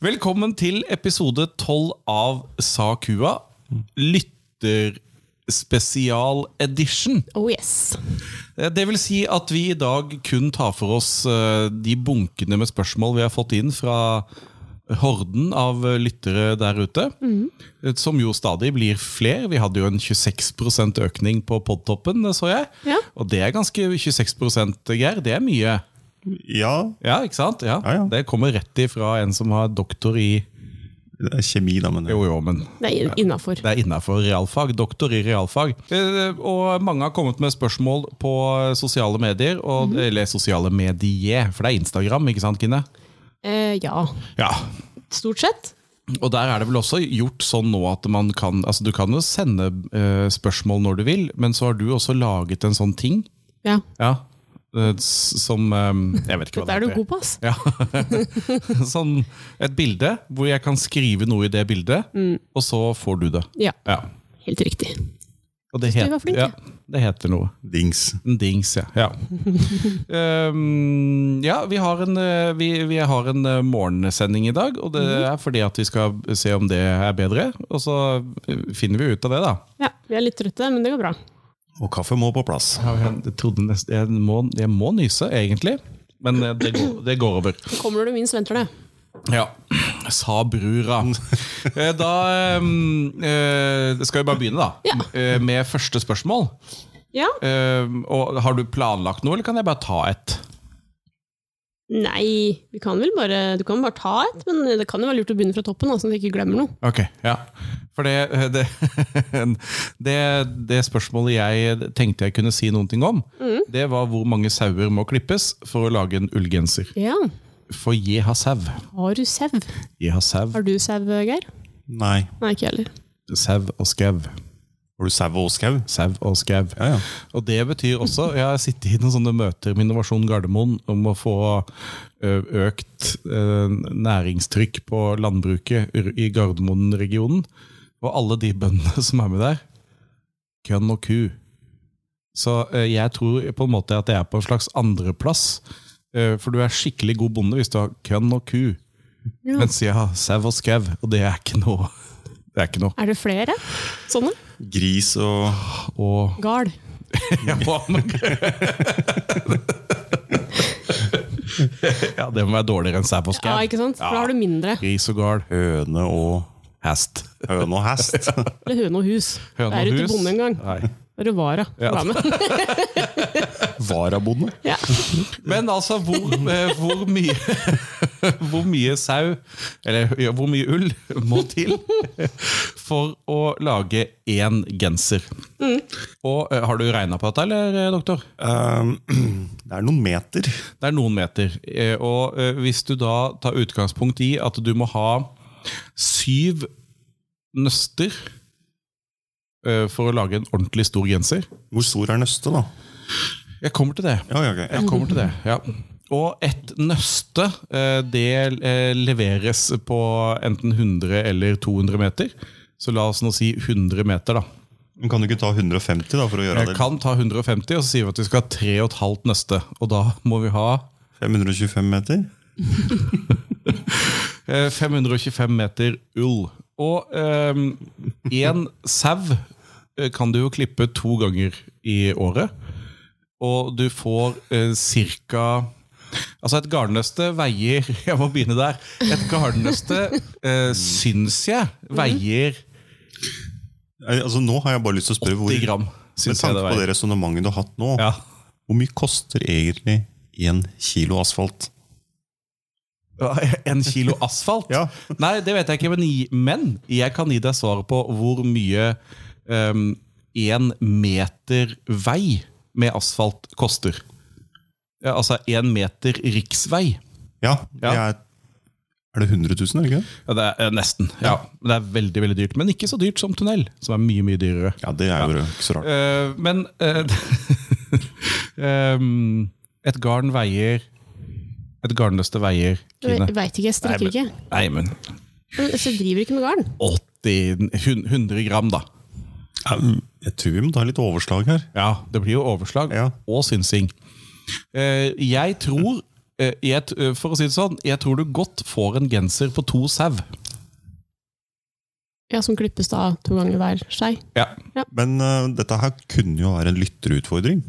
Velkommen til episode 12 av Sakua. Lytterspesial edition. Oh yes. Eh, Det vil si at vi i dag kun tar for oss eh, de bunkene med spørsmål vi har fått inn fra horden av eh, lyttere der ute. eh, Som jo stadig blir fler. Vi hadde jo en 26 økning på podtoppen, eh, så jeg. Ja. Og det er ganske 26 Geir. Det er mye. Ja, Ja, ikke sant? Ja. Ja, ja. Det kommer rett ifra en som har doktor i det er kjemi da, men Jo, jo, men Det er innafor. det er innafor realfag. Doktor i realfag. Eh, Og mange har kommet med spørsmål på sosiale medier. Og, Mhm. Eller sosiale medier, for det er Instagram, ikke sant, Kine? Eh, ja, Ja. stort sett. Og der er det vel også gjort sånn nå at man kan Altså, du kan jo sende eh, spørsmål når du vil, men så har du også laget en sånn ting. Ja. Ja. eh, s- Som eh, Jeg vet ikke hva Dette det er du heter. god på, ass. Ja. sånn et bilde hvor jeg kan skrive noe i det bildet, Mm. og så får du det. Ja, Ja. helt riktig. Og det, du var flink, ja, det heter noe. dings. En dings, ja. Ja, Ehm, ja vi, har en, eh, vi, vi har en eh, morgensending i dag, og det er fordi at vi skal se om det er bedre. Og så eh, finner vi ut av det, da. Ja, Vi er litt trøtte, men det går bra. Og kaffe må på plass. Jeg trodde nesten Jeg må, jeg må nyse, egentlig. Men eh, det går, det går over. Så kommer du minst venter det. Ja. Sa brura. Eh, Da ehm, eh, skal vi bare begynne, da. Ja. Eh, Med første spørsmål. Ja. Eh, Og har du planlagt noe, eller kan jeg bare ta et? Nei, vi kan vel bare, du kan bare ta et, men det kan jo være lurt å begynne fra toppen, da, sånn at vi ikke glemmer noe. Ok, ja. For det, det, det, det spørsmålet jeg tenkte jeg kunne si noen ting om, det var hvor mange sauer må klippes for å lage en ullgenser. Ja. For jeg har sau. Har du sau? Jeg har sau, Har du sau, Geir? Nei. Nei, ikke jeg heller. sau og skau. Har du sau og skau? Sau og skau. Ja, ja. Og det betyr også Jeg har sittet i noen sånne møter med Innovasjon Gardermoen om å få ø, økt ø, næringstrykk på landbruket r- i Gardermoen-regionen. Og alle de bøndene som er med der. Kønn og ku. Så ø, jeg tror på en måte at jeg er på en slags andreplass. ø, For du er skikkelig god bonde hvis du har kønn og ku. Ja. Mens jeg har sau og skau, og det er ikke noe. Det er ikke noe. Er det flere sånne? Gris og Og Gard. Ja, hva om- ja, det må være dårligere enn sau og Ja, skau. ikke sant? For da har du mindre. Gris og gard. høne og Hest. høne og hest. Eller høne og hus. Høne det er og jo hus. ikke bonde engang. Nei. Det er jo vara. Ja. Vara med. Varabonde. Ja. Men altså, hvor, eh, hvor mye Hvor mye sau, eller ja, hvor mye ull, må til for å lage én genser? Mm. Og eh, Har du regna på dette, eller, eh, doktor? Um, det er noen meter. Det er noen meter. eh, Og eh, hvis du da tar utgangspunkt i at du må ha syv nøster eh, for å lage en ordentlig stor genser Hvor stor er nøstet, da? Jeg kommer til det. Ja, ja, ok. ja. Jeg kommer til det, ja. Og et nøste, eh, det eh, leveres på enten 100 eller 200 meter. Så la oss nå si 100 meter, da. Men kan du ikke ta 150 da, for å gjøre Jeg det? kan ta 150, og så sier vi at vi skal ha tre og et halvt nøste. Og da må vi ha 525 meter? Eh, 525 meter ull. Og én sau eh, kan du jo klippe to ganger i året. Og du får eh, ca. Altså, et garnnøste veier Jeg må begynne der. Et garnnøste eh, syns jeg veier Eh, Altså, nå har jeg bare lyst til å spørre hvor 10 gram. Med Syns jeg tanke det på det veier. resonnementet du har hatt nå, Ja. hvor mye koster egentlig én kilo asfalt? En kilo asfalt? Ja. Nei, det vet jeg ikke, men, men jeg kan gi deg svaret på hvor mye én meter vei med asfalt koster. Ja, altså én meter riksvei. Ja, det Ja. er, er det 100 000, er det ikke det? Ja, det er eh, nesten. Ja. Men det er veldig veldig dyrt. Men ikke så dyrt som tunnel, som er mye mye dyrere. Ja, det er jo ikke så rart. Eh, men eh, em, et garn veier Et garnnøste veier, Kine. Jeg veit ikke, jeg strekker Nei, ikke. men, nei, men Men, Så jeg driver ikke med garn. 80 hun- 100 gram, da. Ja, mm, Jeg tror vi må ta litt overslag her. Ja, det blir jo overslag Ja. og synsing. Eh, jeg tror eh, jeg, t- eh, For å si det sånn, jeg tror du godt får en genser på to sau. Ja, som klippes da to ganger hver skei. Ja. Men eh, dette her kunne jo være en lytterutfordring,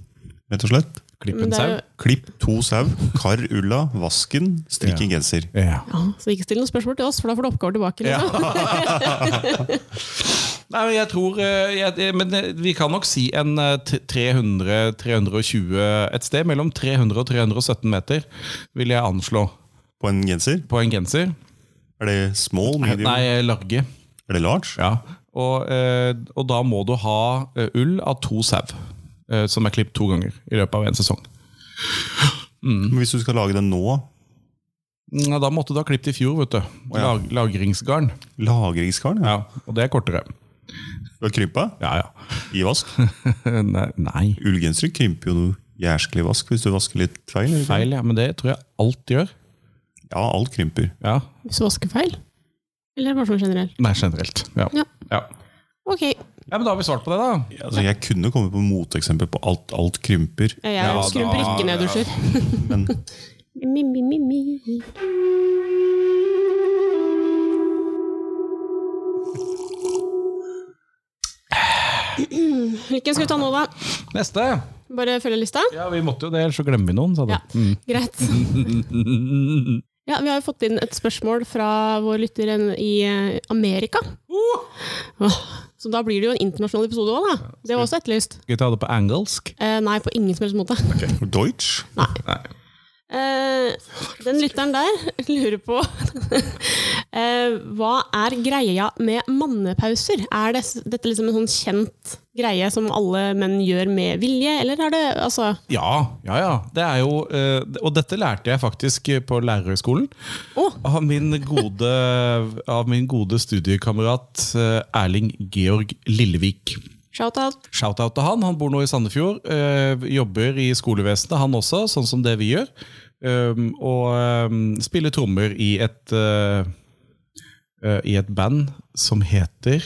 rett og slett. Klipp Men en det er sau. jo- Klipp to sau, kar ulla, vasken, strikk en genser. Ja. Ja, så ikke still noen spørsmål til oss, for da får du oppgaver tilbake. Ja. Liksom. Nei, men jeg tror eh, jeg, eh, Men eh, vi kan nok si en eh, 300-320 Et sted mellom 300 og 317 meter vil jeg anslå På en genser? på en genser. Er det small, medium, Nei, large. er det large? Ja. Og, eh, og da må du ha eh, ull av to sau. eh, Som er klippet to ganger i løpet av en sesong. Men Hvis du skal lage den nå, Ja, Mm, da måtte du ha klippet i fjor. vet du ja. Lag, Lagringsgarn. lagringskaren? Ja. Ja, Og det er kortere. Du har krympa Ja, ja. i vask? Nei, nei. Ullgensere krymper jo noe jærskelig vask hvis du vasker litt feil. eller? Feil, ja. Men det tror jeg alt gjør. Ja, alt krymper. Ja, Hvis du vasker feil. Eller bare sånn generelt. Nei, generelt. Ja. Ja. Ja. Ok, Ja, men Da har vi svart på det, da. Altså, jeg kunne komme på moteksempel på alt alt krymper, jeg Ja, skrumper da- ikke ned dusjer. men Mi, mi, mi, mi. Hvilken skal vi ta nå, da? Neste! Bare følge lista? Ja, Vi måtte jo det, ellers så glemmer vi noen, sa du. Ja. Greit. Ja, Vi har jo fått inn et spørsmål fra vår lytter en- i eh, Amerika. Åh, Så da blir det jo en internasjonal episode òg, da. Det var også etterlyst. Skal vi ta det på engelsk? Eh, nei, på ingen som helst måte. Deutsch? Eh, den lytteren der lurer på eh, Hva er greia med mannepauser? Er det, dette liksom en sånn kjent greie som alle menn gjør med vilje, eller er det altså Ja, ja, ja. Det er jo, eh, og dette lærte jeg faktisk på lærerhøgskolen. Å! Av min gode, av min gode studiekamerat eh, Erling Georg Lillevik. shout-out? Shoutout til han. Han bor nå i Sandefjord. eh, jobber i skolevesenet, han også, sånn som det vi gjør. Um, og um, spiller trommer i et eh, eh, I et band som heter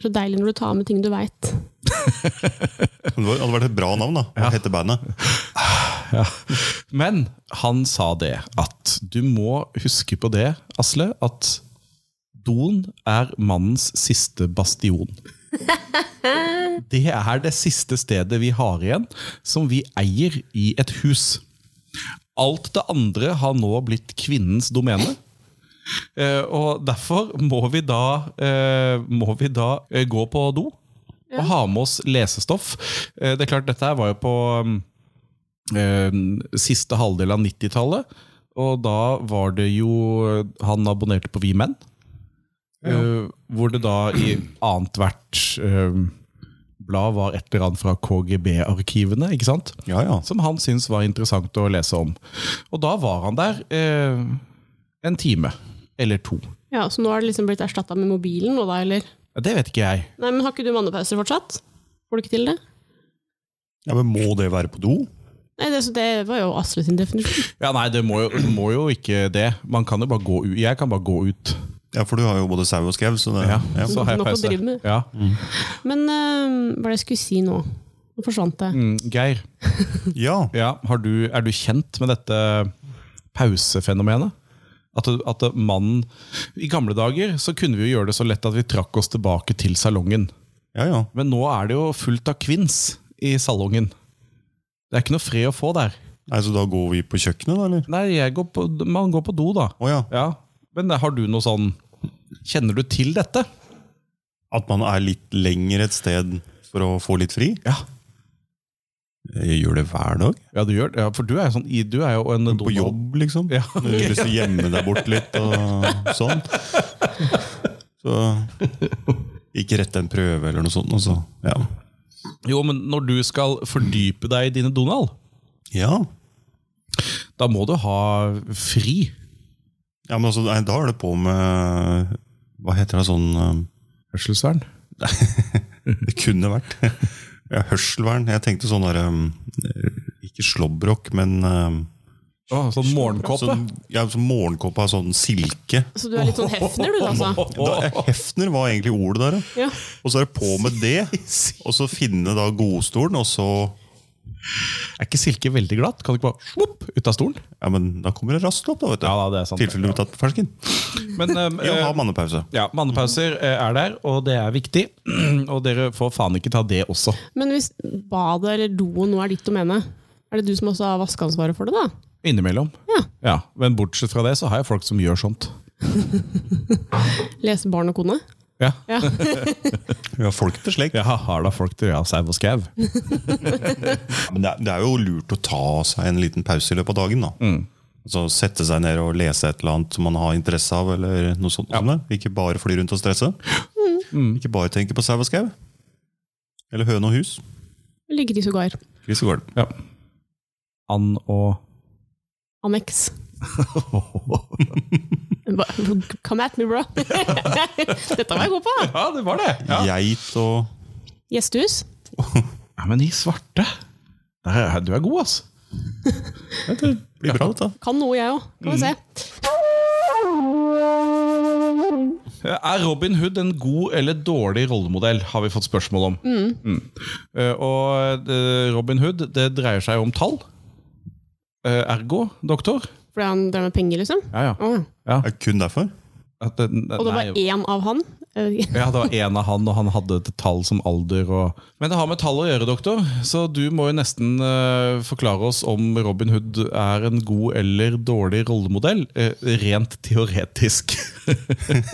Så deilig når du tar med ting du veit. Det var- hadde vært et bra navn, da. Hva heter bandet? Men han sa det at du må huske på det, Asle, at doen er mannens siste bastion. Det er det siste stedet vi har igjen, som vi eier i et hus. Alt det andre har nå blitt kvinnens domene. Eh, og derfor må vi da, eh, må vi da eh, gå på do og ha med oss lesestoff. Eh, det er klart, dette her var jo på um, eh, siste halvdel av 90-tallet. Og da var det jo Han abonnerte på Vi Menn. eh, hvor det da i annethvert eh, blad var et eller annet fra KGB-arkivene. ikke sant? Ja, ja. Som han syntes var interessant å lese om. Og da var han der eh, en time eller to. Ja, Så nå har det liksom blitt erstatta med mobilen nå, da, eller? Det vet ikke jeg. Nei, men har ikke du mannepauser fortsatt? Får du ikke til det? ja men må det være på do? Nei, det, så det var jo Asle sin definisjon. Ja, Nei, det må jo, det må jo ikke det. Man kan jo bare gå ut. Jeg kan bare gå ut. Ja, for du har jo både sau og skau, så det Ja, ja. Så har jeg Nok å pause. drive med. Ja. Men eh, hva er det jeg skulle si nå? Nå forsvant det. Mm, Geir, ja. ja, har du, er du kjent med dette pausefenomenet? At, at mannen I gamle dager så kunne vi jo gjøre det så lett at vi trakk oss tilbake til salongen. Ja, ja. Men nå er det jo fullt av kvinns i salongen. Det er ikke noe fred å få der. Nei, så da går vi på kjøkkenet, da, eller? Nei, jeg går på, man går på do, da. Å ja. Ja. Men har du noe sånn Kjenner du til dette? At man er litt lenger et sted for å få litt fri? Ja. Jeg gjør det hver dag. Ja, du gjør det. Ja, for du er jo sånn i- Du er jo en På jobb, liksom. Ja. Når du har lyst til å gjemme deg bort litt og sånn. Så ikke rette en prøve eller noe sånt. Og så. Ja. Jo, men når du skal fordype deg i dine Donald, ja. da må du ha fri. ja, men altså, nei, da er det på med Hva heter det sånn um, Hørselsvern. Det kunne vært. Ja, hørselvern. Jeg tenkte sånn der um, Ikke slåbrok, men um, Å, sånn morgenkåpe. sånn, ja, sånn morgenkåpe av sånn silke. Så du er litt sånn hefner, du, altså? Da, eh, hefner var egentlig ordet der, ja. Ja. Og så er det på med det, og så finne da godstolen, og så Er ikke silke veldig glatt? Kan du ikke bare svopp, ut av stolen? Ja, men da kommer det raskt opp, da, vet du. da, det er Tilfelle du har tatt på fersken. Men um, Ja, ha mannepause. ja, mannepauser eh, er der, og det er viktig. Og dere får faen ikke ta det også. Men hvis badet eller doen nå er ditt domene, er det du som også har vaskeansvaret for det, da? Innimellom. Ja. Ja, Men bortsett fra det, så har jeg folk som gjør sånt. Lese barn og kone? Ja, Ja. Vi har folk til slekt. Jeg har da folk til å gjøre sau og skau. Men det er, det er jo lurt å ta seg en liten pause i løpet av dagen. da. Altså Sette seg ned og lese et eller annet som man har interesse av. eller noe sånt. som det. Ikke bare fly rundt og stresse. Mm. Ikke bare tenke på sau og skau. Eller høne og hus. Eller gris og gar. Gris og gulv. Ja. And og Annex. Ba- Come at me, bro! Dette var jeg god på! Ja, det var det! Ja. Geit og Gjestehus. Ja, men i svarte Der er- Du er god, altså. Det blir bra, dette. Kan noe, jeg òg. Kan vi se. Er Robin Hood en god eller dårlig rollemodell, har vi fått spørsmål om. Mm. Eh, Og eh, Robin Hood, det dreier seg jo om tall. Eh, Ergo, doktor. Fordi han drev med penger, liksom. Ja, ja. Å, ja. Er det kun derfor? At den- Og det nei, var én av han. Eh, ja, det var én av han, og han hadde et tall som alder og Men det har med tall å gjøre, doktor, så du må jo nesten eh, forklare oss om Robin Hood er en god eller dårlig rollemodell, eh, rent teoretisk.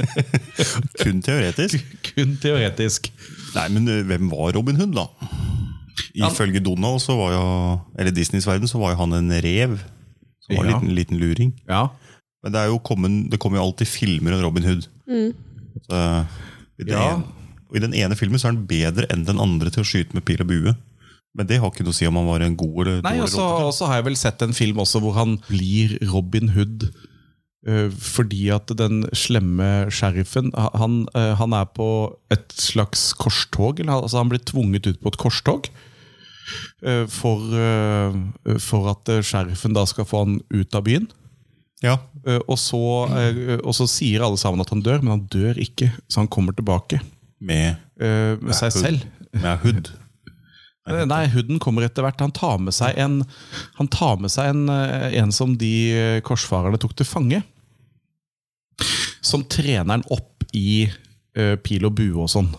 Kun teoretisk? Kun teoretisk. Nei, men ø, hvem var Robin Hood, da? Ifølge Donald, så var jo, eller Disneys verden, så var jo han en rev. Som var en Ja. liten, liten luring. Ja. Men det, er jo kommet, det kommer jo alltid filmer om Robin Hood. Så, i, den Ja. ene, og I den ene filmen så er han bedre enn den andre til å skyte med pil og bue. Men det har ikke noe å si om han var en god eller Nei, altså- og dårlig så rotte. og så har jeg vel sett en film også hvor han blir Robin Hood eh, fordi at den slemme sheriffen ha- han, eh, han er på et slags korstog. Eller, han- altså han blir tvunget ut på et korstog. eh, For, eh, for at eh, sheriffen da skal få han ut av byen. Ja, Eh, Og så, eh, og så sier alle sammen at han dør, men han dør ikke. Så han kommer tilbake med, eh, med seg Hood. selv. med Hood. Eh, Nei, huden kommer etter hvert. Han tar med seg en, han tar med seg en, eh, en som de eh, korsfarerne tok til fange. Som trener han opp i eh, pil og bue og sånn.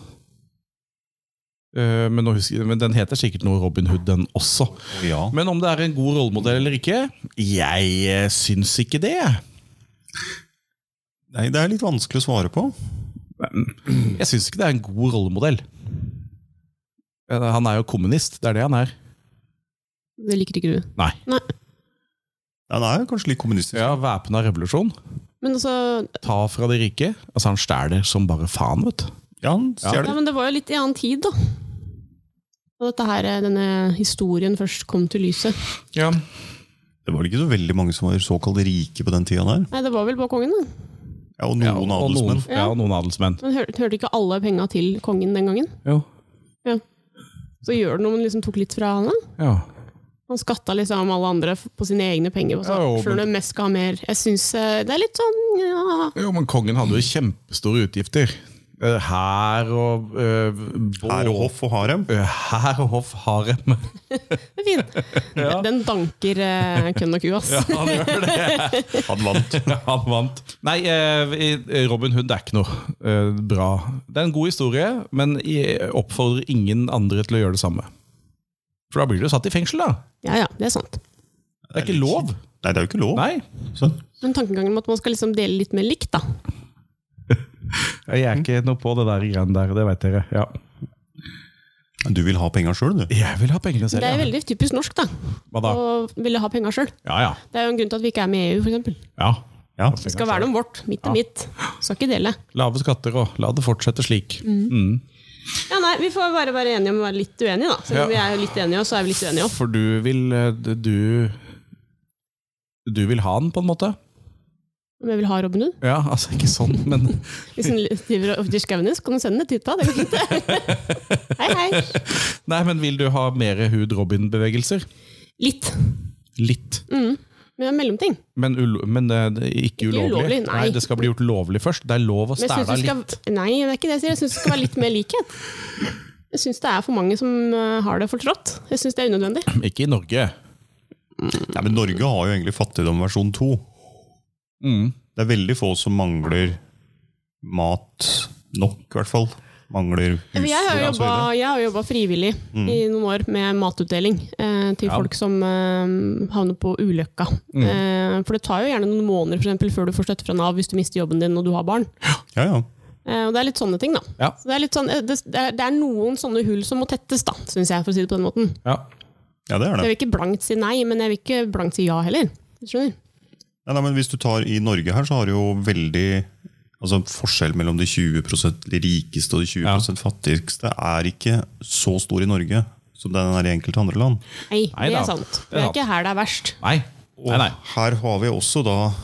Eh, men, nå husker, jeg- men den heter sikkert noe Robin Hood, den også. Ja. Men om det er en god rollemodell eller ikke? Jeg eh, syns ikke det. Nei, det er litt vanskelig å svare på. Jeg syns ikke det er en god rollemodell. Eh, Han er jo kommunist, det er det han er. det liker ikke du. Nei. Han er jo kanskje litt kommunistisk. Ja, Væpna revolusjon. Men altså, ta fra de rike. Altså, han stjeler som bare faen, vet du. Ja, han ja, stjeler. men det var jo litt i annen tid, da. Og dette her, eh, denne historien først kom til lyset. Ja. Det var vel ikke så veldig mange som var såkalt rike på den tida der. Nei, det var vel bare kongen, da. Ja, og noen og adelsmenn. Noen, ja, og noen adelsmenn. Men hør, hørte ikke alle penga til kongen den gangen? Jo. Så gjør det noe om han liksom tok litt fra han, da. Ja. Han skatta liksom alle andre f- på sine egne penger. Og så, Ja, jo, men- Sjøl om mest skal ha mer. Jeg syns eh, det er litt sånn ja. Jo, men kongen hadde jo kjempestore utgifter. Eh, Hær og eh, vå- Her og hoff og harem. Eh, Hær og hoff harem. Det er fint. Den danker eh, kønn og ku, ass. Han gjør det. Han vant. Han vant. Nei, eh, i- Robin Hood er ikke noe eh, bra. Det er en god historie, men jeg oppfordrer ingen andre til å gjøre det samme. For da blir du satt i fengsel, da. Ja ja, det er sant. Det er ikke lov. Nei, det er jo ikke lov. Nei. Så, Men tankegangen om at man skal liksom dele litt mer likt, da. Jeg Mhm. er ikke noe på det der greiene der, det veit dere. Ja. du vil ha penga sjøl, du. Jeg vil ha pengene selv. Det er ja. veldig typisk norsk, da. Hva da? Å ville ha penga sjøl. Ja, ja. Det er jo en grunn til at vi ikke er med i EU, f.eks. ja. Ja. Det skal være noe om vårt. Mitt er mitt. Skal ikke dele. Lave skatter og la det fortsette slik. Mhm. Mm. Ja, nei, Vi får bare være enige om å være litt uenige, da. Selv om Ja. vi er jo litt enige, så er vi litt uenige òg. For du vil eh, Du Du vil ha den, på en måte? Om jeg vil ha Robin Hood? Ja, altså ikke sånn, men Hvis hun skriver over til skauen din, så kan hun sende det til deg. Det går fint. det. Hei, hei. Nei, men vil du ha mer Hud Robin-bevegelser? Litt. Litt. Men det er mellomting. Men, ulo men eh, det er ikke Mm. Ikke ulovlig. ulovlig, nei. Det skal bli gjort lovlig først. Det er lov å Men jeg stæle synes av du skal... litt. Nei, det er ikke det jeg sier. Jeg syns det skal være litt mer likhet. Jeg syns det er for mange som eh, har det for trått. Jeg syns det er unødvendig. Ikke i Norge. Nei, men Norge har jo egentlig fattigdom versjon 2. Mm. Det er veldig få som mangler mat nok, i hvert fall. Mangler husdyr. altså, Jeg har og så videre. jobba- jeg har jobba frivillig i noen år med matutdeling eh, til Ja. folk som eh, havner på ulykka. Eh, for det tar jo gjerne noen måneder for eksempel, før du får støtte fra Nav hvis du mister jobben din og du har barn. Ja, ja. Eh, og Det er litt sånne ting, da. Ja. Så det, er litt sånn, eh, det, det er- det er noen sånne hull som må tettes, da, syns jeg, for å si det på den måten. Ja. ja, det er det. Jeg vil ikke blankt si nei, men jeg vil ikke blankt si ja heller. Du Skjønner? Nei, nei, men hvis du tar i Norge her, så har du jo veldig Altså Forskjell mellom de 20 rikeste og de 20 fattigste er ikke så stor i Norge som den er i enkelte andre land. Nei, Nei det da. er sant. Det Det er er ikke her det er verst. Nei. Og Nei, nei. her har vi også da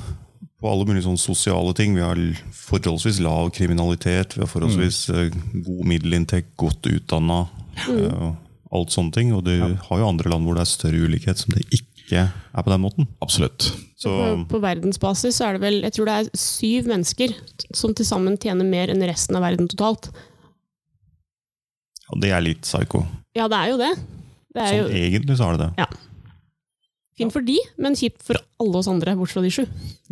på alle mulige sånne sosiale ting. Vi har l- forholdsvis lav kriminalitet, vi har forholdsvis Mm. eh, god middelinntekt, godt utdanna. Mm. alt sånne ting. Og du har jo andre land hvor det er større ulikhet, som det ikke er på den måten. Absolutt. Så På, på verdensbasis så er det vel jeg tror det er syv mennesker som til sammen tjener mer enn resten av verden totalt. ja, det er litt psyko. Ja, det er jo det. Det er Sånn jo egentlig så er det det. fint for de, men kjipt for alle oss andre, bortsett fra de sju.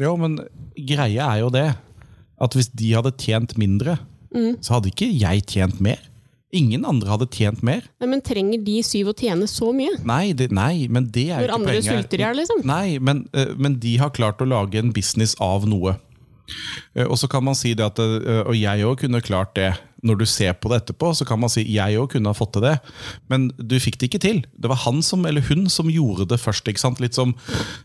Jo, men greia er jo det at hvis de hadde tjent mindre, Mm. så hadde ikke jeg tjent mer. Ingen andre hadde tjent mer. Nei, men trenger de syv å tjene så mye? Nei, det, nei men det er jo Når ikke andre poenget. sulter i hjel, liksom? Nei, men, eh, men de har klart å lage en business av noe. Eh, Og så kan man si det at eh, Og jeg òg kunne klart det. Når du ser på det etterpå, så kan man si jeg òg kunne ha fått til det. Men du fikk det ikke til. Det var han som, eller hun som gjorde det først. ikke sant? Litt som,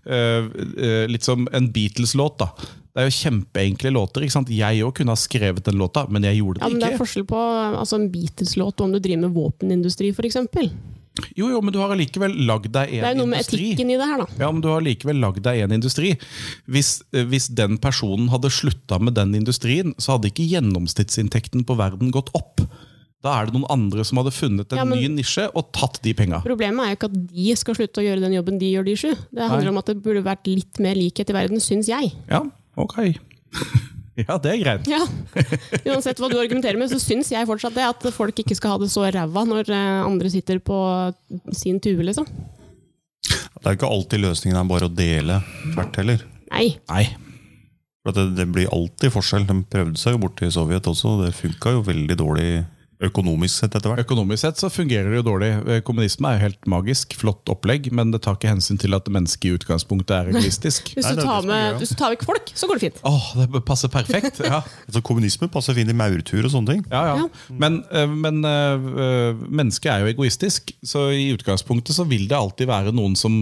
eh, eh, litt som en Beatles-låt. da. Det er jo kjempeenkle låter. ikke sant? Jeg òg kunne ha skrevet den låta, men jeg gjorde Ja, det men Det er ikke. forskjell på altså, en Beatles-låt og om du driver med våpenindustri, f.eks. Det Jo, jo, men du har allikevel lagd deg en industri. er jo noe med etikken i det her, da. Ja, men du har likevel lagd deg en industri. Hvis, eh, hvis den personen hadde slutta med den industrien, så hadde ikke gjennomsnittsinntekten på verden gått opp. Da er det noen andre som hadde funnet en Ja, men- ny nisje og tatt de penga. Problemet er jo ikke at de skal slutte å gjøre den jobben de gjør, de sju. Det handler Nei. om at det burde vært litt mer likhet i verden, syns jeg. Ja, ok. ja, det er greit. Ja. Uansett hva du argumenterer med, så syns jeg fortsatt det. At folk ikke skal ha det så ræva når eh, andre sitter på sin tue, liksom. Det er jo ikke alltid løsningen er bare å dele tvert heller. Nei. Nei. For at det, det blir alltid forskjell. De prøvde seg jo borte i Sovjet også, og det funka jo veldig dårlig økonomisk sett etter hvert. Økonomisk sett så fungerer det jo dårlig. Eh, Kommunisme er jo helt magisk, flott opplegg, men det tar ikke hensyn til at mennesket i utgangspunktet er egoistisk. Hvis Nei, du det er tar, det som er med, greia. hvis du tar vekk folk, så går det fint. Åh, det passer perfekt! Ja. Altså, kommunisme passer fint i maurtur og sånne ting. Ja, ja. Men, eh, men eh, eh, mennesket er jo egoistisk, så i utgangspunktet så vil det alltid være noen som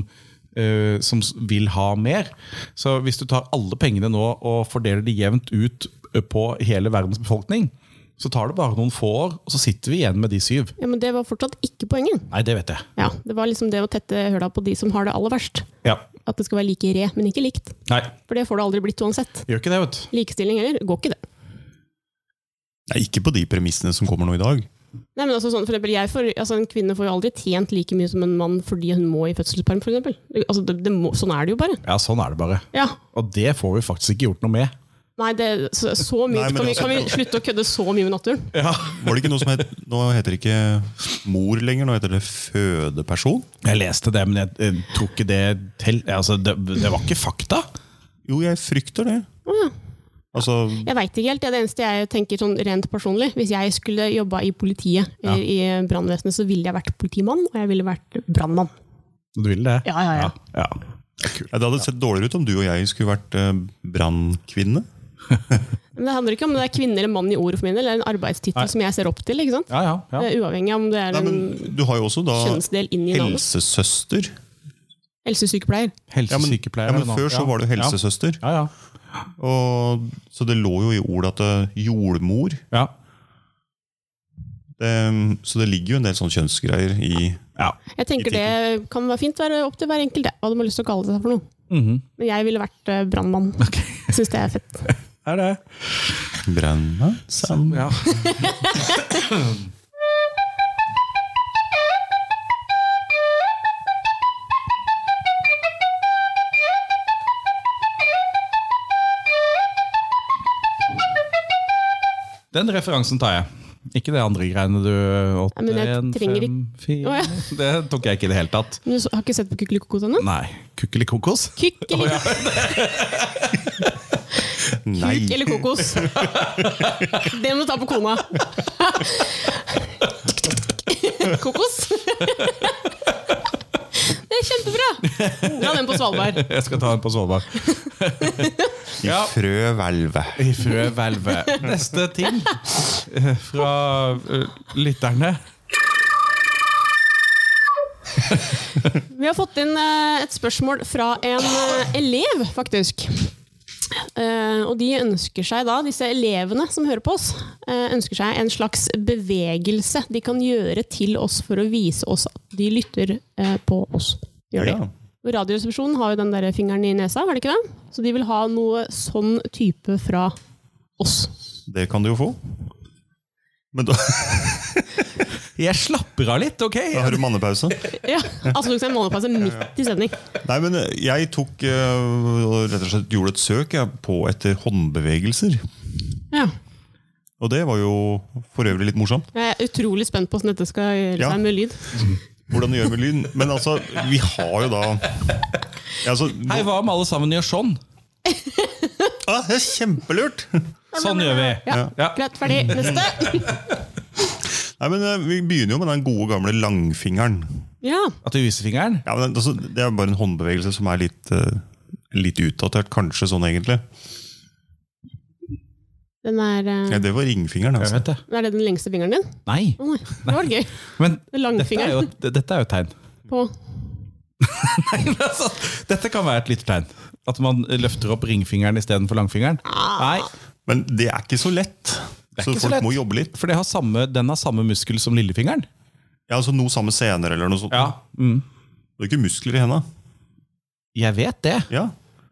eh, som s- vil ha mer. Så hvis du tar alle pengene nå og fordeler de jevnt ut eh, på hele verdens befolkning, så tar det bare noen få år, og så sitter vi igjen med de syv. Ja, Men det var fortsatt ikke poenget. Nei, det vet jeg. Ja, Det var liksom det å tette høla på de som har det aller verst. Ja. At det skal være like re, men ikke likt. Nei, For det får det aldri blitt uansett. gjør ikke det, vet du. Likestilling heller går ikke det. Nei, ikke på de premissene som kommer nå i dag. Nei, men altså sånn, for eksempel, jeg får, altså, En kvinne får jo aldri tjent like mye som en mann fordi hun må i fødselsperm, for eksempel. Altså, det, det må, sånn er det jo bare. Ja, sånn er det bare. Ja, Og det får vi faktisk ikke gjort noe med. Nei, det, så, så mye, Nei, men kan, vi, altså- kan vi slutte å kødde så mye med naturen? Var det ikke noe som het, Nå heter det ikke mor lenger, nå heter det fødeperson. Jeg leste det, men jeg, eh, tror ikke det til. Altså, det, det var ikke fakta. Jo, jeg frykter det. Altså, Jeg veit ikke helt. Det er det eneste jeg tenker sånn rent personlig. Hvis jeg skulle jobba i politiet eller i brannvesenet, så ville jeg vært politimann, og jeg ville vært brannmann. Du vil det? Ja, ja, ja. ja. ja, det hadde sett dårligere ut om du og jeg skulle vært eh, brannkvinne. Men det handler ikke om det er kvinne eller mann i ordet for min del. Det er en arbeidstittel som jeg ser opp til. ikke sant? ja, ja, ja. Det er Uavhengig av om det er Nei, en men du har jo også da kjønnsdel inn i navnet. helsesøster. Helsesykepleier. Helsesykepleier. Ja, men før så var det jo helsesøster. Ja, ja. Og, så det lå jo i ordet at eh, jordmor ja. det, Så det ligger jo en del sånn kjønnsgreier i ja. Jeg tenker det kan være fint. Være opp til hver enkelt, det. Hva de har lyst til å kalle seg for noe. Mhm. Men jeg ville vært eh, brannmann. Jeg Syns det er fett. Er det? Brenna? Sam. Ja. Den referansen tar jeg. Ikke det andre greiene du åtte, Ja, men jeg en, trenger fem, fire Å, Det tok jeg ikke i det hele tatt. Men du så- har ikke sett på Kukelikokos ennå? Nei. Kukkeli kokos? Kukk eller, Nei! kuk eller kokos? Det må du ta på kona. Kokos. Det er kjempebra! Dra den på Svalbard. Jeg skal ta den på Svalbard. I Ja. frøhvelvet. I frøhvelvet. Neste ting eh, fra eh, lytterne. Vi har fått inn eh, et spørsmål fra en eh, elev, faktisk. Eh, og de ønsker seg da, disse elevene som hører på oss, eh, ønsker seg en slags bevegelse de kan gjøre til oss for å vise oss at de lytter eh, på oss. Gjør de. Ja. Og Radioresepsjonen har jo den der fingeren i nesa, har de ikke det? Så de vil ha noe sånn type fra oss. Det kan du jo få. Men da Jeg slapper av litt, ok? da har du mannepause. Ja, altså tok seg en månedpause midt i sending. Nei, men jeg tok eh, og rett og slett gjorde et søk jeg, på etter håndbevegelser. Ja. Og det var jo for øvrig litt morsomt. Jeg er utrolig spent på hvordan dette skal gjøre Ja. seg med lyd. Hvordan gjør vi lyden? Men altså, vi har jo da Ja, altså, Hei, hva om alle sammen gjør sånn? Ah, det er kjempelurt! Sånn gjør vi. Ja, Ja. Greit, ferdig. Neste! Nei, men eh, Vi begynner jo med den gode gamle langfingeren. Ja. At du viser fingeren? Ja, men altså, Det er bare en håndbevegelse som er litt, eh, litt utdatert, kanskje sånn egentlig. Den er eh, Ja, Det var ringfingeren. Jeg altså. vet det. Er det den lengste fingeren din? Nei. Å nei, det var gøy. Men dette er jo, Langfingeren et- dette er jo et tegn. på Nei, men altså, dette kan være et lyttertegn. At man løfter opp ringfingeren istedenfor langfingeren. Ah. Nei, Men det er ikke så lett. Det er Så ikke så folk lett. må jobbe litt. For det har samme, den har samme muskel som lillefingeren. Ja, altså Noe samme senere eller noe sånt. Mm. Det er ikke muskler i henda. Jeg vet det, Ja,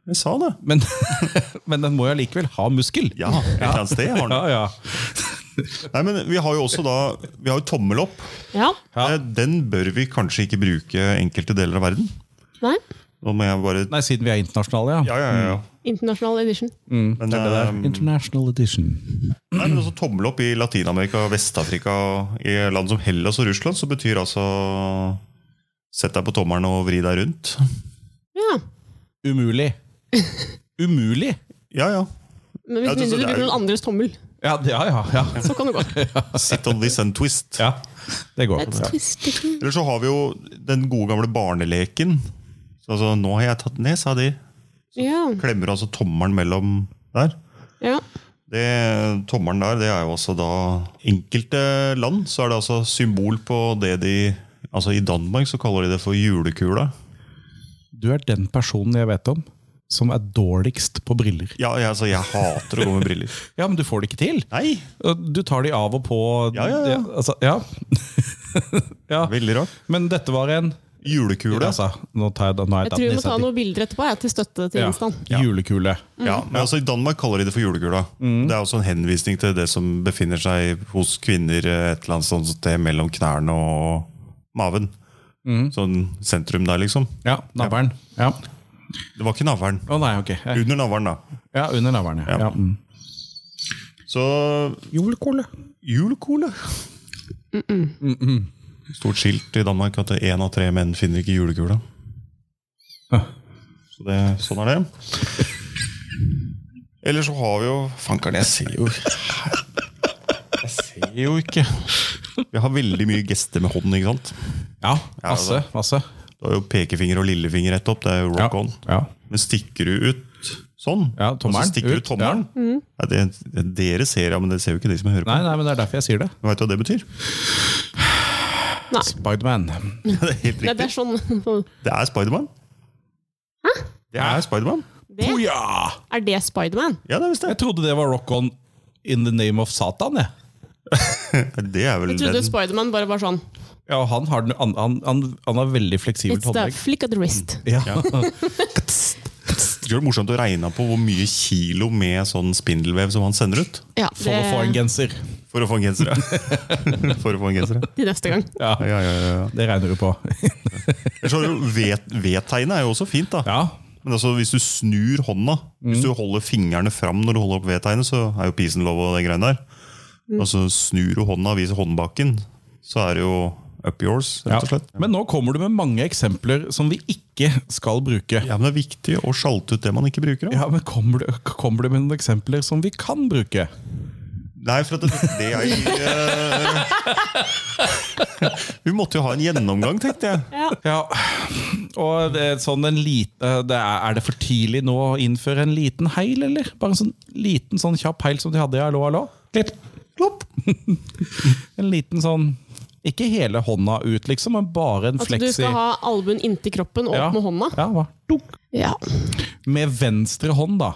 jeg sa det. men, men den må jo allikevel ha muskel. Ja, et eller annet sted har den. ja, ja. Nei, men vi har jo også da Vi har jo tommel opp. Ja. Ja. Eh, Den bør vi kanskje ikke bruke enkelte deler av verden. Nei. Nå må jeg bare Nei, siden vi er internasjonale, ja. Ja, ja, ja. ja. International edition. Men, Mm. Det er det der. eh, Um, International edition. Nei, men også tommel opp i Latin-Amerika, Vest-Afrika, i land som Hellas og Russland, så betyr altså Sett deg på tommelen og vri deg rundt. Ja. Umulig. Umulig! Ja, ja. Men Ja, hvis det- mindre du så det er bruker jo- noen andres tommel, Ja, det- ja, ja. ja. så kan det gå. Sit on this and twist. ja. Det går. Let's twist it. Eller så har vi jo den gode gamle barneleken. Så altså, nå har jeg tatt ned, sa de. Ja. Klemmer altså tommelen mellom der. ja. Det, tommelen der, det er jo altså da Enkelte land så er det altså symbol på det de Altså I Danmark så kaller de det for julekula. Du er den personen jeg vet om som er dårligst på briller. Ja, jeg, altså, jeg hater å gå med briller. Ja, men du får det ikke til! Nei, Og Du tar de av og på. Ja, ja, ja. Det- altså, ja. ja. veldig rart. Men dette var en Julekule. altså, Nå tar jeg, nå har jeg Jeg tatt tror vi den må ta noen bilder etterpå ja, til støtte til Instan. Ja. Julekule. Ja, men altså I Danmark kaller de det for julekula. Det er også en henvisning til det som befinner seg hos kvinner eh, et eller annet sånt sted mellom knærne og maven. Sånn sentrum der, liksom. Ja, navlen. Ja. Det var ikke navlen. Å nei, ok. Ja, Under navlen, da. Ja, under navlen, ja. Ja. ja. Mm. Så Julekule. julekole. Stort skilt i Danmark at én av tre menn finner ikke julekula. Ah. Så det, sånn er det. Eller så har vi jo Fankeren, jeg ser jo Jeg ser jo ikke. Vi har veldig mye gester med hånden. ikke sant? Ja, masse. Masse. Du har jo pekefinger og lillefinger rett opp. det er jo rock Ja. on. ja. Men stikker du ut sånn, Ja, og tommelen så stikker ut, du tommelen ja, det, Dere ser, ja, men det ser jo ikke de som hører på. Nei, nei, men det er derfor jeg sier det. Vet du hva det betyr? Spiderman. Det er helt Nei, det riktig. er sånn. Det er Spiderman. Det er Spiderman. Det, Ja! er det Spiderman? Ja, det visste jeg. Jeg trodde det var rock on in the name of Satan. jeg. Det er vel Jeg trodde den. Spiderman bare var sånn. Ja, og han har, den- han, han, han, han har veldig fleksibelt It's the håndlegg. flick of the wrist. Ja. Det er morsomt å regne på hvor mye kilo med sånn spindelvev som han sender ut. Ja, For å få en det genser. For å få en genser, ja. For å få en genser, ja. til neste gang. Ja, ja, ja, ja, ja. Det regner du på. Ellers har du jo vet- V-tegnet er jo også fint, da. Ja, Men altså, hvis du Mm. snur hånda, hvis du holder fingrene fram når du holder opp V-tegnet, så er jo pisen lov og det greiene der. Mm. Og så snur du hånda og viser håndbaken, så er det jo up yours, rett og slett. Ja. Men nå kommer du med mange eksempler som vi ikke skal bruke. Ja, men Det er viktig å sjalte ut det man ikke bruker. Da. Ja, men Kommer du, kommer du med noen eksempler som vi kan bruke? Nei, for at det, det jeg eh, Vi måtte jo ha en gjennomgang, tenkte jeg. Ja. Ja, og det er, sånn en lite, det er, er det for tidlig nå å innføre en liten heil, eller? Bare en sånn liten, sånn kjapp heil som de hadde i Hallo, hallo? Klipp, klopp. en liten sånn Ikke hele hånda ut, liksom, men bare en At fleksi. Altså, du skal ha albuen inntil kroppen og Ja, opp med hånda. Ja, hva? Dunk. Ja. Med venstre hånd, da.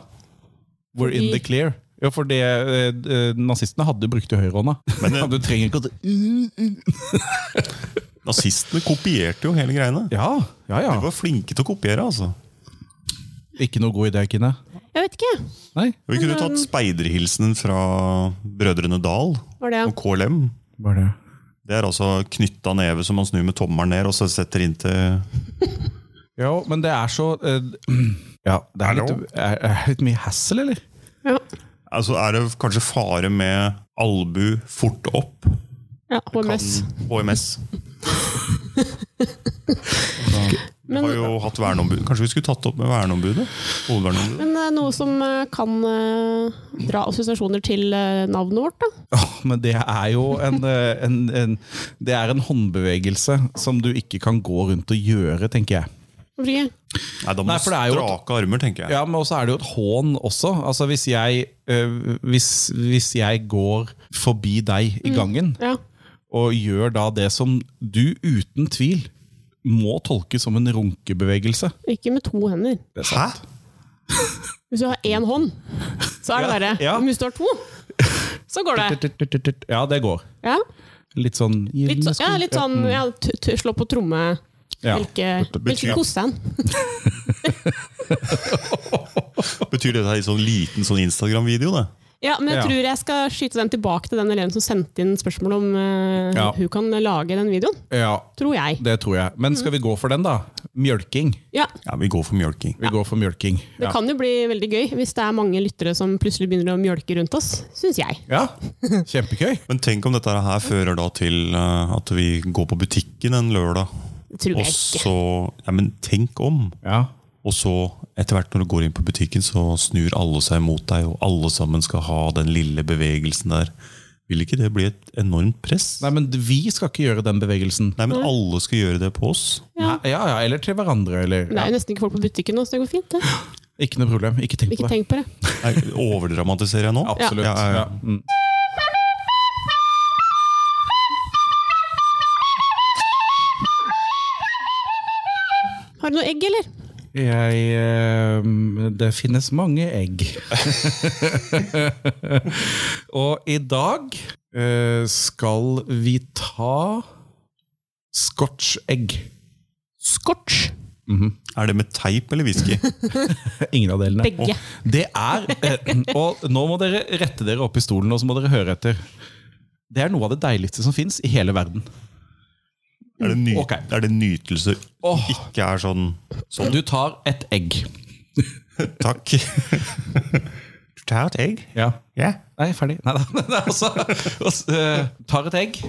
We're in Fordi- the clear. Ja, for det, eh, eh, Nazistene hadde brukt jo høyrehånda. Men du trenger ikke å Nazistene kopierte jo hele greiene. Ja, ja, De ja. var flinke til å kopiere, altså. Ikke noe god idé, Kine. Jeg vet ikke. Nei? Vi kunne tatt speiderhilsenen fra Brødrene Dal Var det og KLM. Hva er det? Det er altså knytta neve som man snur med tommelen ned og så setter inn til Jo, men det er så eh, Ja, det er litt, Hallo? er, er litt mye hassle, eller? ja. Altså er det kanskje fare med albu fort opp. ja HMS. Kan HMS. Vi Men, har jo hatt verneombud. Kanskje vi skulle tatt det opp med verneombudet? Hovedverneombudet. men eh, noe som eh, kan eh, dra assosiasjoner til eh, navnet vårt, da. Åh, men det er jo en, eh, en, en Det er en håndbevegelse som du ikke kan gå rundt og gjøre, tenker jeg. Hvorfor ikke? Nei, da må Nei, du for det er jo- strake armer, tenker jeg. Ja, men også er det jo et hån også. Altså hvis jeg, eh, hvis, hvis jeg går forbi deg Mm. i gangen, Ja. og gjør da det som du uten tvil må tolkes som en runkebevegelse Ikke med to hender. Det er Hæ? sant. Hvis du har én hånd, så er det verre. Ja, ja. Men hvis du har to, så går det. Ja, det går. Ja, Litt sånn litt, så, ja, litt sånn ja, t t slå på tromme. Ja. Hvilke, betyr- hvilke kostetegn. Betyr det her i sånn liten sånn Instagram-video? det? Ja, men jeg Ja. tror jeg skal skyte den tilbake til den eleven som sendte inn spørsmål om eh, Ja. hun kan lage den videoen. Ja, Tror jeg. Det tror jeg. Men skal vi gå for den, da? Mjølking. Ja, Ja, vi går for mjølking. Vi går for mjølking. Det Ja. kan jo bli veldig gøy hvis det er mange lyttere som plutselig begynner å mjølke rundt oss, syns jeg. ja. Kjempegøy. Men tenk om dette her fører da til eh, at vi går på butikken en lørdag, Det tror og jeg ikke. så Ja, men tenk om! Ja. Og så, etter hvert når du går inn på butikken, så snur alle seg mot deg, og alle sammen skal ha den lille bevegelsen der. Vil ikke det bli et enormt press? Nei, Nei, men vi skal ikke gjøre den bevegelsen. men alle skal gjøre det på oss. Ja, ja, ja Eller til hverandre. Eller, Men Det er ja. jo nesten ikke folk på butikken nå, så det går fint. Det. Ikke noe problem. Ikke tenk Ikke på det. tenk på det. Nei, Overdramatiserer jeg nå? Absolutt. Ja, ja, ja. Ja, mm. Har du noe egg, eller? Jeg eh, Det finnes mange egg. Og i dag eh, skal vi ta scotch-egg. Skorts. Er det med teip eller whisky? Ingen av delene. Begge. Det er eh, Og nå må dere rette dere opp i stolen, og så må dere høre etter. Det er noe av det deiligste som fins i hele verden. Er det, ny, Ok. er det nytelse Åh. ikke er sånn sånn? Du tar et egg. Takk. Du tar et egg? Ja. Ja. Nei, ferdig. Nei da. Det er også- også, eh, tar et egg,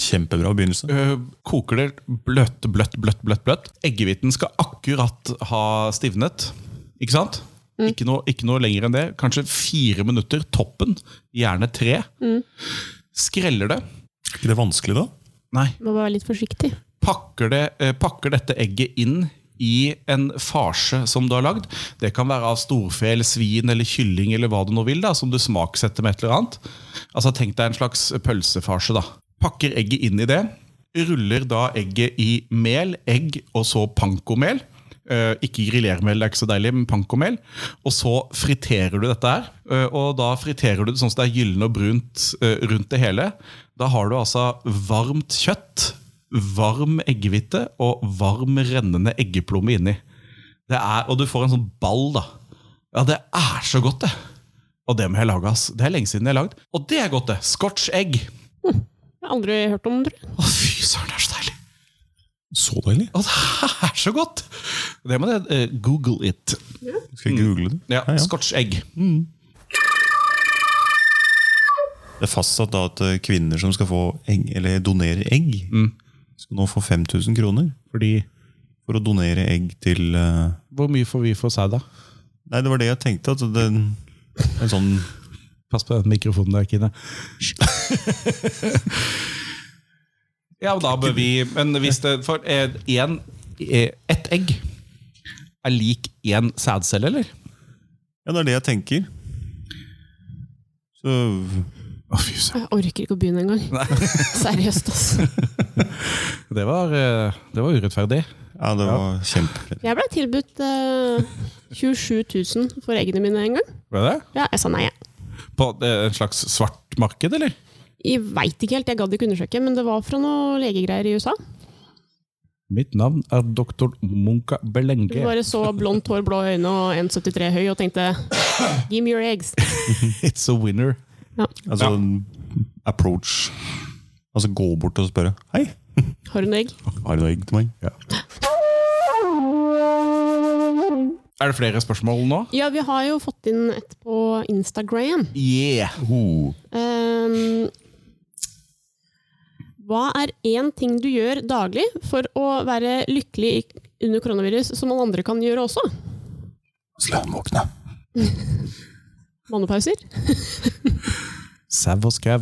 Kjempebra begynnelse. eh, koker det bløtt, bløtt, bløtt. bløtt, bløtt. Eggehviten skal akkurat ha stivnet. Ikke sant? Ikke, noe, ikke noe lenger enn det. Kanskje fire minutter, toppen. Gjerne tre. Skreller det. Er ikke det vanskelig, da? Nei, Må bare være litt forsiktig. pakker, det, eh, pakker dette egget inn i en farse som du har lagd. Det kan være av storfe, eller svin eller kylling eller hva du nå vil, da, som du smaksetter med et eller annet. Altså Tenk deg en slags pølsefarse. da. Pakker egget inn i det. Ruller da egget i mel, egg og så pancomel. Eh, ikke grillermel, det er ikke så deilig, men pancomel. Og så friterer du dette her. eh, og da friterer du det sånn at det er gyllen og brunt eh, rundt det hele. Da har du altså varmt kjøtt, varm eggehvite og varm rennende eggeplomme inni. Det er, og du får en sånn ball, da. Ja, det er så godt, det! Og det må jeg lage, ass. Det er lenge siden jeg har lagd. Og det er godt, det! Scotch egg. Jeg har aldri hørt om det. Å, fy søren, det er så deilig! Så deilig. Å, det er så godt! Det må det eh, Google it. Mm. Skal jeg google det? Ja, Scotch egg. Det er fastsatt da at eh, kvinner som skal få egg, eller donerer egg, skal nå få 5000 kroner Fordi for å donere egg til eh, Hvor mye får vi for sau, da? Nei, det var det jeg tenkte. At det, en sånn Pass på den mikrofonen der, Kine. ja, men da bør vi Men hvis det For eh, en- eh, ett egg er lik én sædcelle, eller? Ja, det er det jeg tenker. Så Å, fy søren. Jeg orker ikke å begynne engang. Seriøst, altså. Det var, eh, det var urettferdig. Ja, det var kjempe... Jeg ble tilbudt eh, 27 000 for eggene mine en gang. Var det? Ja, jeg sa nei, jeg. På eh, en slags svart marked, eller? Jeg veit ikke helt, jeg gadd ikke undersøke, men det var fra noe legegreier i USA. Mitt navn er doktor Munka Du Belenge. bare så blondt hår, blå øyne og 1,73 høy og tenkte Give me your eggs. It's a winner. Altså en approach. Altså gå bort og spørre. Hei, Har du noe egg? har du noe egg til meg? Er det flere spørsmål nå? Ja, vi har jo fått inn et på Instagram. Yeah! Ho. Ehm, hva er én ting du gjør daglig for å være lykkelig i- under koronavirus, som alle andre kan gjøre også? Sløvvåkne. Mannepauser? Sau og skau.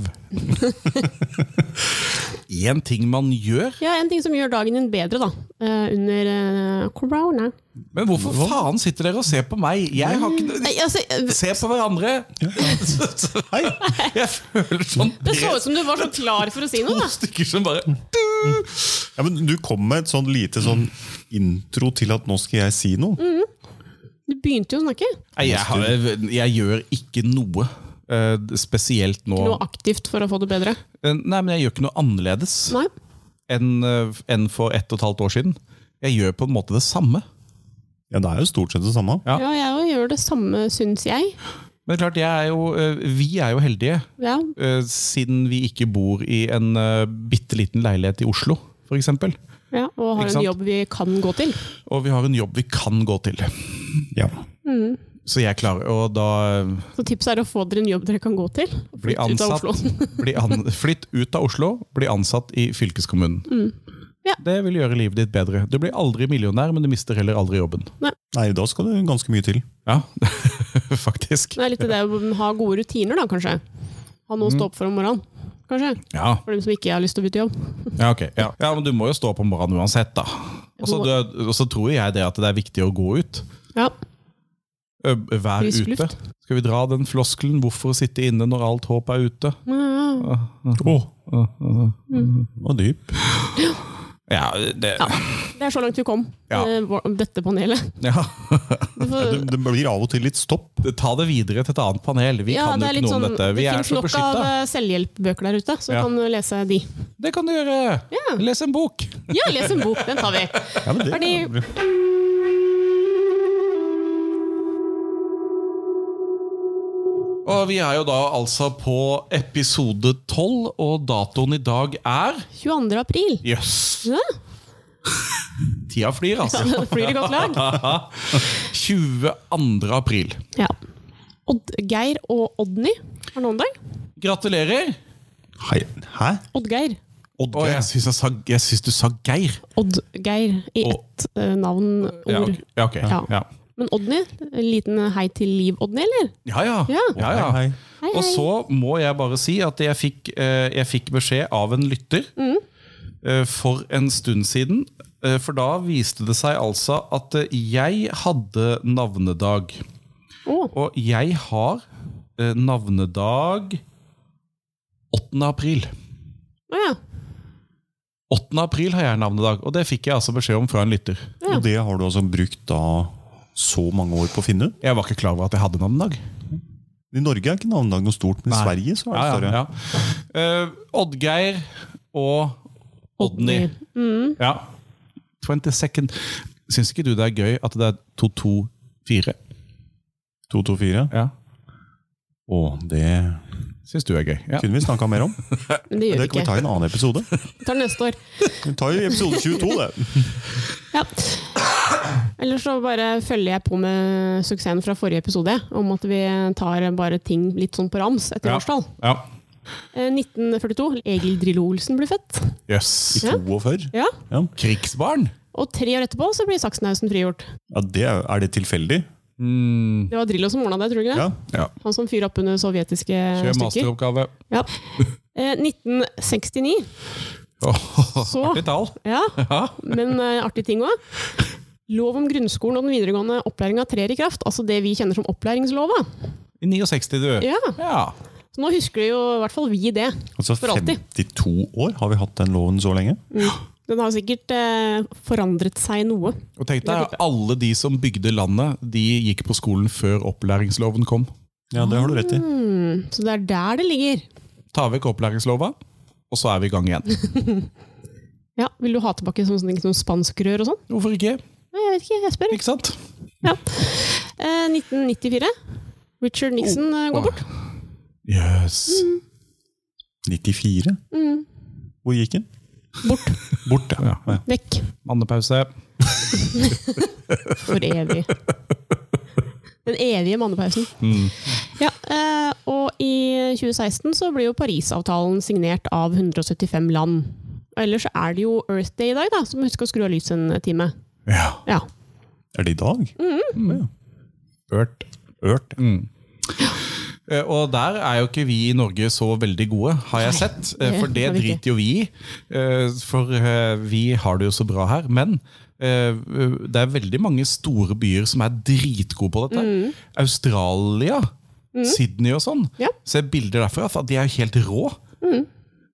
Én ting man gjør Ja, en ting som gjør dagen din bedre, da. eh, under eh, korona. Men hvorfor faen sitter dere og ser på meg? Jeg har ikke Nei, altså, eh, Se på hverandre! Hei! Jeg føler sånn det så ut som du var så klar for å si noe, To da. stykker som bare Ja, men du kom med et sånn lite sånn intro til at nå skal jeg si noe. Du begynte jo å snakke. Nei, jeg, har, jeg gjør ikke noe. eh, spesielt nå. Noe aktivt for å få det bedre. Eh, Nei, men jeg gjør ikke noe annerledes Nei. enn eh, enn for ett og et halvt år siden. Jeg gjør på en måte det samme. Ja, det er jo stort sett det samme. Ja. Ja, jeg òg gjør det samme, syns jeg. Men klart, jeg er jo, eh, vi er jo heldige, Ja, eh, siden vi ikke bor i en uh, bitte liten leilighet i Oslo, f.eks. ja, og har Ikke sant? en jobb vi kan gå til. Og vi har en jobb vi kan gå til. Ja. Så jeg klarer Og da eh, Så tipset er å få dere en jobb dere kan gå til. og bli flytte ut av ansatt Oslo. bli an, Flytt ut av Oslo, bli ansatt i fylkeskommunen. Mm. Ja. Det vil gjøre livet ditt bedre. Du blir aldri millionær, men du mister heller aldri jobben. Nei, da skal det ganske mye til. Ja, faktisk. Det er litt det å ha gode rutiner, da, kanskje. Ha noe å Mm. stå opp for om morgenen, kanskje. Ja, For dem som ikke har lyst til å bytte jobb. Ja, ok. Ja. ja, men du må jo stå opp om morgenen uansett, da. Og så du- og så tror jeg det at det er viktig å gå ut. Ja, Ø, Vær Frisk ute. luft. Skal vi dra den floskelen 'hvorfor sitte inne når alt håp er ute'? Ah. ja. Åh, Mm. og dyp. Ja, det Det er så langt vi kom, Ja. eh, vår- dette panelet. ja. Du Det, får, det blir av og til litt stopp. Ta det videre til et annet panel. Vi ja, kan det jo er ikke litt noe om sånn dette. Vi Det er finnes så nok av beskytta. eh, selvhjelpbøker der ute, så Ja. kan du lese de. Det kan du gjøre! Ja. Les en bok! Ja, les en bok! Den tar vi. Ja, men det Fordi- Og vi er jo da altså på episode tolv, og datoen i dag er 22. april. Jøss! Ja, Tida flyr, altså. flyr i godt lag. 22. april. Ja. Odd, Geir og Odny har noen dag. Gratulerer! Hei. Hæ? Oddgeir. Å, jeg syns, jeg, sa, jeg syns du sa Geir. Oddgeir i Og- ett eh, navn, ord. Ja, ok. Ja, ok. Ja. ja. Men Odny, en liten eh, hei til Liv Odny, eller? ja, ja. Ja. ja, ja. Hei, hei. Hei, Og hei. så må jeg bare si at jeg fikk, eh, jeg fikk beskjed av en lytter Mm. eh, for en stund siden. eh, For da viste det seg altså at eh, jeg hadde navnedag. Å. Og jeg har eh, navnedag 8. april. Å ja. 8. april har jeg navnedag, og det fikk jeg altså beskjed om fra en lytter. Ja. Og det har du altså brukt da så mange år på å finne ut. Jeg var ikke klar over at jeg hadde navnedag. I Norge er ikke navnedag noe stort, men i Nei. Sverige så er det Ja, større. ja, ja. Eh, Oddgeir og Odny. Ja. 22nd. Syns ikke du det er gøy at det er 224? 224. Ja. Og det Syns du er gøy? Ja. kunne vi snakka mer om. Men det gjør Det vi kan vi ikke. ta i en annen episode. Vi tar det neste år. Vi tar jo episode 22, det. Ja. Eller så bare følger jeg på med suksessen fra forrige episode, om at vi tar bare ting litt sånn på rams etter Ja. årstall. ja. Eh, 1942. Egil Drillo Olsen blir født. Jøss. I 42? Ja. Ja. Krigsbarn? Og tre år etterpå så blir Saksenhausen frigjort. ja det er, er det tilfeldig? Mm. Det var Drillo som ordna det, tror du ikke det? Ja. Ja. Han som fyrer opp under sovjetiske Kjør Eh, stykker. masteroppgave. Ja. Eh, 1969, Oh, så artig tall. Ja, Ja. men eh, artig ting òg. Lov om grunnskolen og den videregående opplæringa trer i kraft. Altså det vi kjenner som opplæringslova. I 69, du. Ja, Ja. Så nå husker jo i hvert fall vi det. Altså For alltid. 52 år? Har vi hatt den loven så lenge? Den har sikkert eh, forandret seg noe. Og tenk deg, alle de som bygde landet, de gikk på skolen før opplæringsloven kom. Ja, det har du rett i. Mm, så det er der det ligger. Ta vekk opplæringslova, og så er vi i gang igjen. Ja, Vil du ha tilbake sånn, sånne ting som spanskrør og sånn? Hvorfor ikke? Nei, Jeg vet ikke, jeg spør. Ikke sant? Ja. Eh, 1994. Richard Nixon eh, går bort. Jøss. Yes. 94? Mm, Hvor gikk den? bort. Bort, ja. ja. Vekk. Mannepause. For evig. Den evige mannepausen. Mm. Ja, eh, og i 2016 så blir jo Parisavtalen signert av 175 land. Og ellers så er det jo Earth Day i dag, da, så må huske å skru av lyset en time. Ja. Ja. Er det i dag? Ørt. Ørt? Eh, Og der er jo ikke vi i Norge så veldig gode, har jeg Nei, sett. Eh, det For det har vi ikke. driter jo vi i. Eh, For eh, vi har det jo så bra her. Men eh, det er veldig mange store byer som er dritgode på dette. Australia, Sydney og sånn. Mm. Ja. Mm. Ser bilder derfra. for De er jo helt rå.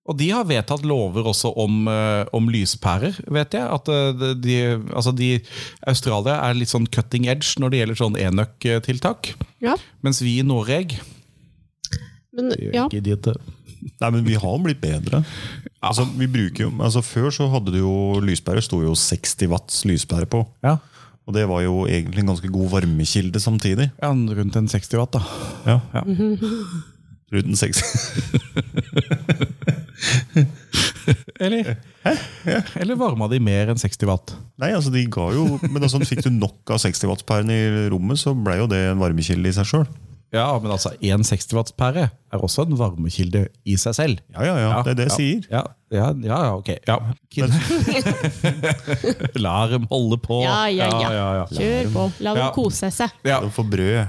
Og de har vedtatt lover også om, eh, om lyspærer, vet jeg. At eh, de- de, altså de, Australia er litt sånn cutting edge når det gjelder sånn enøk-tiltak. ja. Mens vi i Norge Men ja, ikke eh. idioter. Nei, men vi har blitt bedre. Altså, vi bruker jo, altså Før så hadde du jo lyspære, sto jo 60 watts lyspære på. Ja. Og det var jo egentlig en ganske god varmekilde samtidig. ja, rundt en 60 watt, da. Ja. Ja. Rundt 60. Eller, eller varma de mer enn 60 watt? Nei, altså de ga jo Men altså, fikk du nok av 60 watts-pæren i rommet, så ble jo det en varmekilde i seg sjøl. Ja, men altså, én 60 watts-pære er også en varmekilde i seg selv. Ja, ja, ja, det er det jeg sier. Ja, ja, ja, ja, ok. Ja. La dem holde på. Ja, ja, ja. ja, ja. kjør på. La dem Ja. kose seg. Ja. De får brød.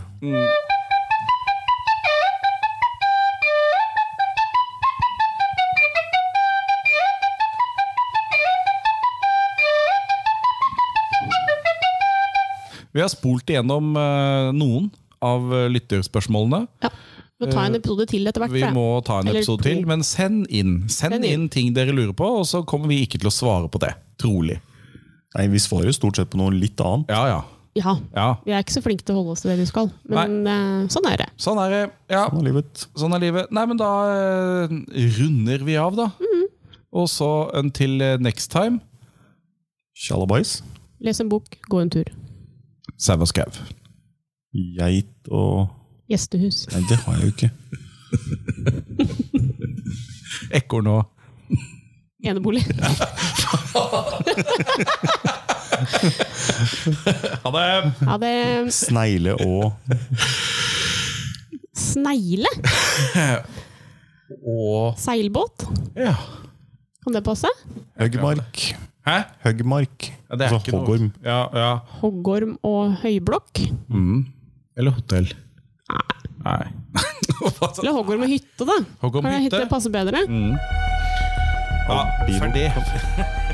Vi har spolt igjennom eh, noen av eh, lytterspørsmålene. Ja. Vi må ta en episode til etter hvert. Eh, Vi tror jeg. må ta en Eller episode to. til, men send inn. Send Send inn inn. ting dere lurer på, og så kommer vi ikke til å svare på det. Trolig. Nei, vi svarer jo stort sett på noe litt annet. Ja, ja. Ja. ja. Vi er ikke så flinke til å holde oss til det vi skal, men eh, sånn er det. Sånn er det. Ja, Sånn er livet. sånn er livet. Nei, men da eh, runder vi av, da. Og så en til eh, next time. Tjalabais. Les en bok, gå en tur. Sau og skau. Geit og Gjestehus. Nei, det har jeg jo ikke. Ekorn og Enebolig. Ha det! Ja, det Snegle og Snegle? Og Seilbåt? Ja. Kan det passe? høggmark. Hæ? Høggmark. Ja, det er altså ikke hoggorm. noe Ja, ja. Hoggorm og høyblokk? Eller hotell. Nei. Hva sa- Eller hoggorm og hytte, da? Altså- Hoggorm og Kan det hytte? hytte passe bedre? ja, ferdig.